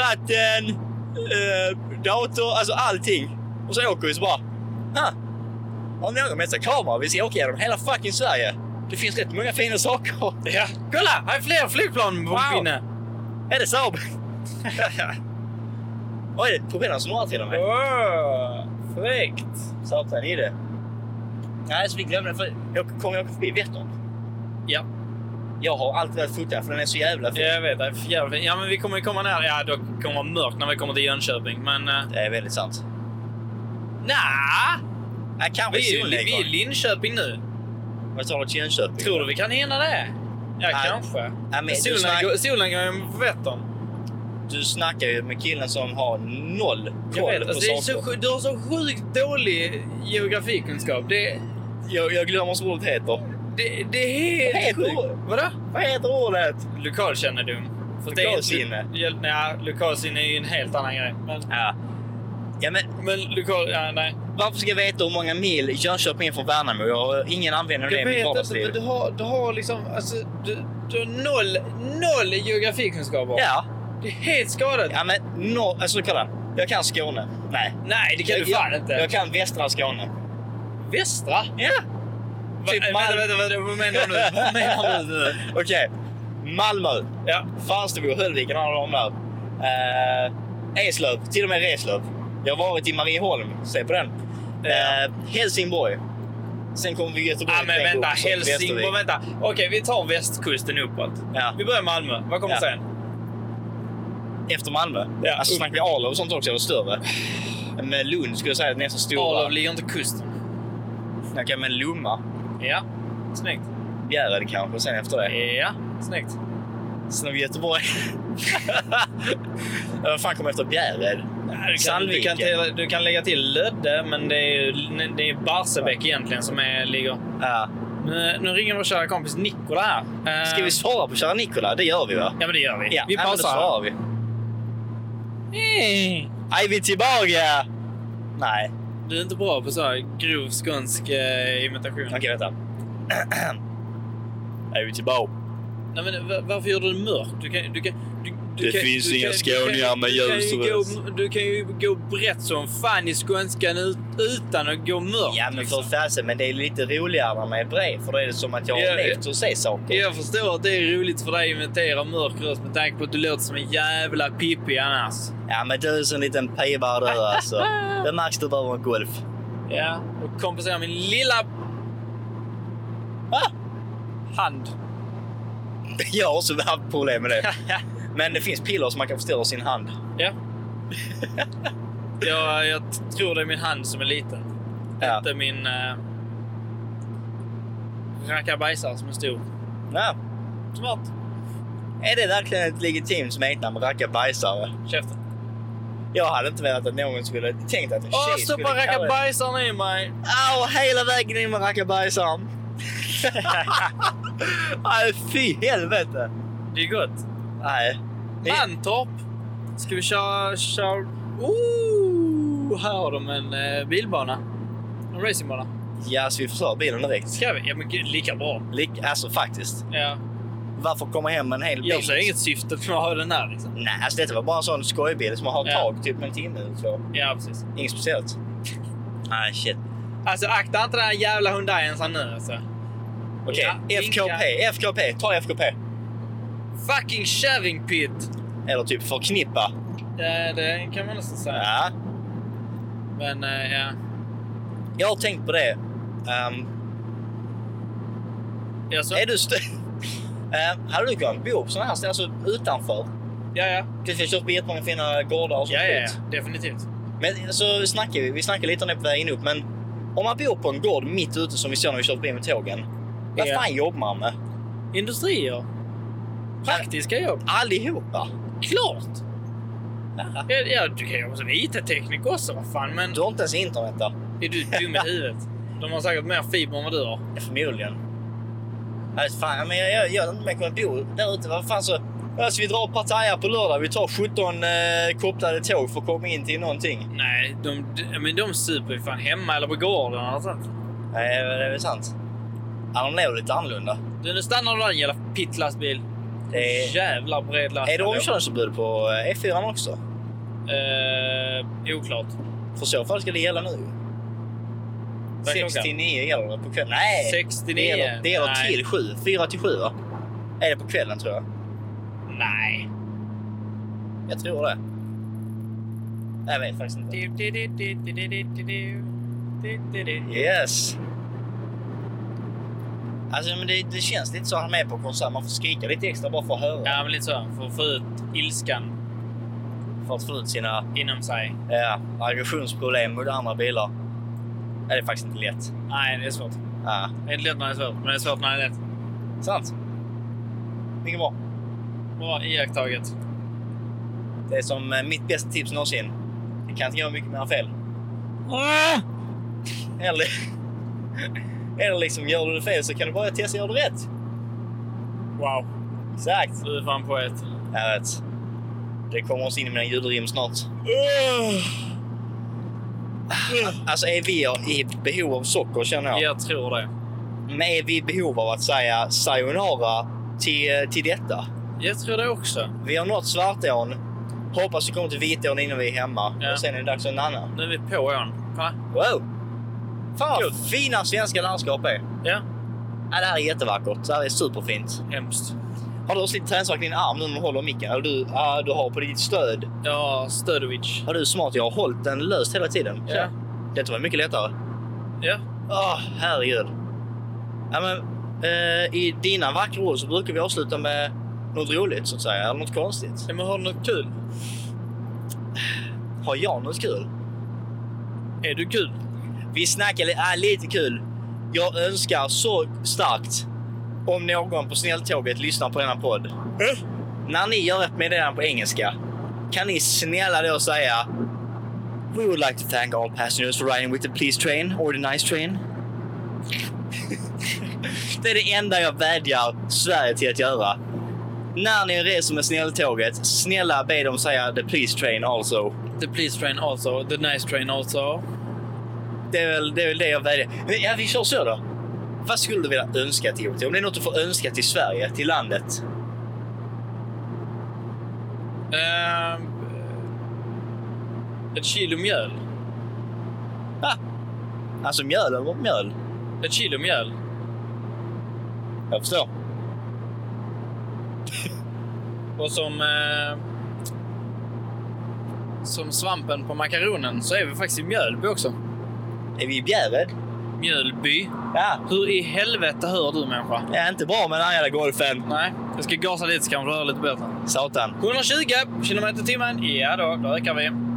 vatten, eh, dator, alltså allting. Och så åker vi så bara, ha, har någon med sig kamera? Vi ska åka genom hela fucking Sverige. Det finns rätt många fina saker. Ja. Kolla! Här är fler flygplan på Wow. pinne. Är det Saab? Oj, på skillnad snarare till och med. Åh, Fräckt. Satan i det. Nej, så vi glömde den. För jag kommer åka förbi Vättern. Ja. Jag har alltid velat fota för den är så jävla fin. Ja, Jag vet, det är för jävla fint. Ja, men vi kommer ju komma nära. Ja, då kommer det vara mörkt när vi kommer till Jönköping, men... Uh, Det är väldigt sant. Nja! Nej, kanske Vi är ju vi är i solnedgång. Linköping nu. Vad tar du till Jönköping? Tror du vi kan hinna det? Ja, Nej. kanske. Nej, men du Solen snack- går- Solen går ju på Vättern. Du snackar ju med killen som har noll Jag koll vet. på Alltså, det är saker. så, sju- du har så sjukt dålig geografikunskap. Det, Jag, jag glömmer så ordet heter. det, det är Vad helt heter sjukt. det? Vadå? Vad heter ordet? Lokalkännedom. För det är Lokalsinne. inte- Ja, nej, lokalsinne är ju en helt annan grej. Men, Ja. ja, men men lokal... Ja, nej. varför ska jag veta hur många mil Jönköping är från Värnamo? Jag har ingen användning av det i Jag mitt vet inte, vardagsliv. men du har, du har liksom... Alltså, du, du har noll, noll geografikunskaper. Ja, Det är helt skadat. ja men no, alltså kolla. Jag kan Skåne. Nej. Nej, det kan jag, du fan jag, inte. Jag kan västra Skåne. Västra? Ja. Typ Va, Malmö. vänta, vänta, vänta, vad menar du nu? Vad menar du nu? Okej. Malmö. Ja. Falsterbo, Höllviken, alla de där. Eh, Eslöv, till och med Reslöv. Jag har varit i Marieholm, se på den. Eh, Helsingborg. Sen kommer vi Göteborg. Ah, men Tänk vänta, upp, så Helsingborg, Västervik. vänta. Okej, vi tar västkusten uppåt. Ja. Vi börjar Malmö. Vad kommer Ja. sen? Efter Malmö. Ja. Alltså snackar vi Arlöv och sånt också, eller större. Men Lund skulle jag säga är nästan stora. Arlöv ligger inte kusten. Okej, men Lomma. Ja, snyggt. Bjärred kanske sen efter det. Ja, snyggt. Sen har vi Göteborg. Ja, Vad fan kommer efter Bjärred? Ja, Du kan, du, kan Sandviken. till, du kan lägga till Lödde, men det är, ju- det är Barsebäck egentligen som är, ligger... Ja. Nu, nu ringer vår kära kompis Nikola här. Eh, Ska vi svara på kära Nikola? Det gör vi va? Ja, men det gör vi. Ja, vi ja, men då pausar. svarar vi. Hey. Är vi tillbaka? Nej. Du är inte bra på så här grov skånsk eh, imitation. Okej, vänta. Är vi tillbaka? Nej, men va- varför gör du det mörkt? Du kan, du kan, du, du Det kan, finns du inga kan- skåningar du kan- med du kan ju ljus och gå- Du kan ju gå brett som fan i skånskan ut, utan att gå mörkt. Ja, men för liksom. fasen, men det är lite roligare när man är bred, för då är det som att jag Ja, har levt och ser saker. Jag förstår att det är roligt för dig att imitera mörk röst med tanke på att du låter som en jävla pippi annars. Ja, men du är så en liten pibare du alltså. Det märks du behöver en golf. Ja, och kompensera min lilla Ah! hand. Jag har också haft problem med det. Men det finns piller som man kan förstöra sin hand. ja. jag, jag tror det är min hand som är liten. Ja. Inte min äh, rackabajsare som är stor. Ja. Smart. Är det verkligen ett legitimt smeknamn, rackabajsare? Käften. Jag hade inte velat att någon skulle tänkt att en Åh, tjej skulle stoppa kalla det. rackabajsaren i mig! Au, hela vägen in med rackabajsaren. Nej, fy helvete. Det är gott. Nej. Det- Mantorp! Ska vi köra... köra... Ooh, här har de en eh, bilbana. En racingbana. Ja, så vi förstör bilen direkt. Ska vi? Ja men gud, lika bra. Lik- Alltså faktiskt. Ja. Varför komma hem med en hel bil? Jag ser inget syfte med att ha den här liksom. Nej, alltså detta var bara en sån skojbil som man har Ja. tag typ en timme eller så. Ja, precis. Inget speciellt. Nej, shit. Alltså akta inte den här jävla Hyundaien sen nu alltså. Okej, Ja, FKP, FKP, ta FKP. Fucking kärringpit! Eller typ förknippa. Ja, det kan man nästan säga. Ja. Men eh, ja. Jag har tänkt på det. Ehm, Ja, så. är du st- Ehm, Hade du kunnat bo på sådana här ställen, alltså utanför? ja, ja. Det finns ju jättemånga fina gårdar och sånt Ja, ja, skit. ja. Definitivt. Men så snackar vi, vi snackar lite om det på vägen upp, men om man bor på en gård mitt ute som vi såg när vi körde förbi med tågen. Vad Ja. fan jobbar man med? Industrier. Praktiska jobb. Allihopa! Klart! Ja. Ja, ja, du kan jobba som IT-tekniker också, vad fan. Men Du har inte ens internet där. är du dum i huvudet? De har säkert mer fiber än vad du har. Ja, Förmodligen. Jag vet fan, men jag, jag, jag hade inte mer kunnat bo där ute. Vad fan så... Alltså, vi drar Pattaya på lördag. Vi tar 17 eh, kopplade tåg för att komma in till någonting. Nej, de, de- men de super ju fan hemma eller på gården eller något sånt. Nej, det är väl sant. Ja, de lever lite annorlunda. Du, nu stannar du där din jävla pittlastbil. Det är, Jävla bred last. är det ändå. omkörningsförbud på eh, F4 också? Eh, oklart. För så fall ska det gälla nu. Vad är klockan? 6 till 9 gäller det på kvällen. Nej! 69. Det gäller, det gäller Nej. till 7. 4 till 7 va? Är det på kvällen tror jag. Nej. Jag tror det. Jag vet faktiskt inte. Yes! Alltså, men det, det känns lite så. Han är på konsert. Man får skrika lite extra bara för att höra. Ja, men lite så. För att få ut ilskan För att få ut sina inom sig. ja, aggressionsproblem mot andra bilar. Ja, det är faktiskt inte lätt. Nej, det är svårt. Ja, Det är inte lätt när det är svårt, men det är svårt när det är lätt. sant. Mycket bra. Bra iakttaget. Det är som eh, mitt bästa tips någonsin. Det kan inte göra mycket mer än fel. Eller, eller liksom, gör du det fel så kan du bara testa att göra det rätt. Wow, Exakt. du är fan poet. Jag vet. Det kommer oss in i mina julrim snart. Alltså är vi i behov av socker känner jag. Jag tror det. Men är vi i behov av att säga sayonara till, till detta? Jag tror det också. Vi har nått Svartån. Hoppas vi kommer till Vitån innan vi är hemma. Ja. Och sen är det dags för en annan. Nu är vi på ån. Kolla. Wow! Fan vad fina svenska landskap är. Ja. Ja, det här är jättevackert. Det här är superfint. Hemskt. Har du också lite tränsvärk i din arm nu när du håller micken? Eller du, ja, du har på ditt stöd. Ja, Stödovich. Har du smart? Jag har hållit den löst hela tiden. Ja. Detta var mycket lättare. Ja. Åh, herregud. Ja, men, eh, I dina vackra ord så brukar vi avsluta med något roligt, så att säga. Eller något konstigt. Ja, Men har du något kul? Har jag något kul? Är du kul? Vi snackar li- ah, lite kul. Jag önskar så starkt om någon på snälltåget lyssnar på denna podd. När ni gör ett meddelande på engelska, kan ni snälla då säga We would like to thank all passengers for riding with the police train or the nice train. det är det enda jag vädjar Sverige till att göra. När ni reser med snälltåget, snälla be dem säga the police train also. The please train also, the nice train also. Det är väl det, är väl det jag väljer. Men, ja, vi kör så då. Vad skulle du vilja önska till OT? Om det är något du får önska till Sverige, till landet. Ehm, eh, ett kilo mjöl. Alltså mjöl eller mjöl? Ett kilo mjöl. Jag förstår. Och som... Eh, som svampen på makaronen så är vi faktiskt i Mjölby också. Är vi i Bjärred? Mjölby. Ja. Hur i helvete hör du människa? Jag är inte bra med den här jävla golfen. Nej, jag ska gasa lite så kanske du hör lite bättre. Satan. 120 kilometer i timmen. Ja då, då ökar vi.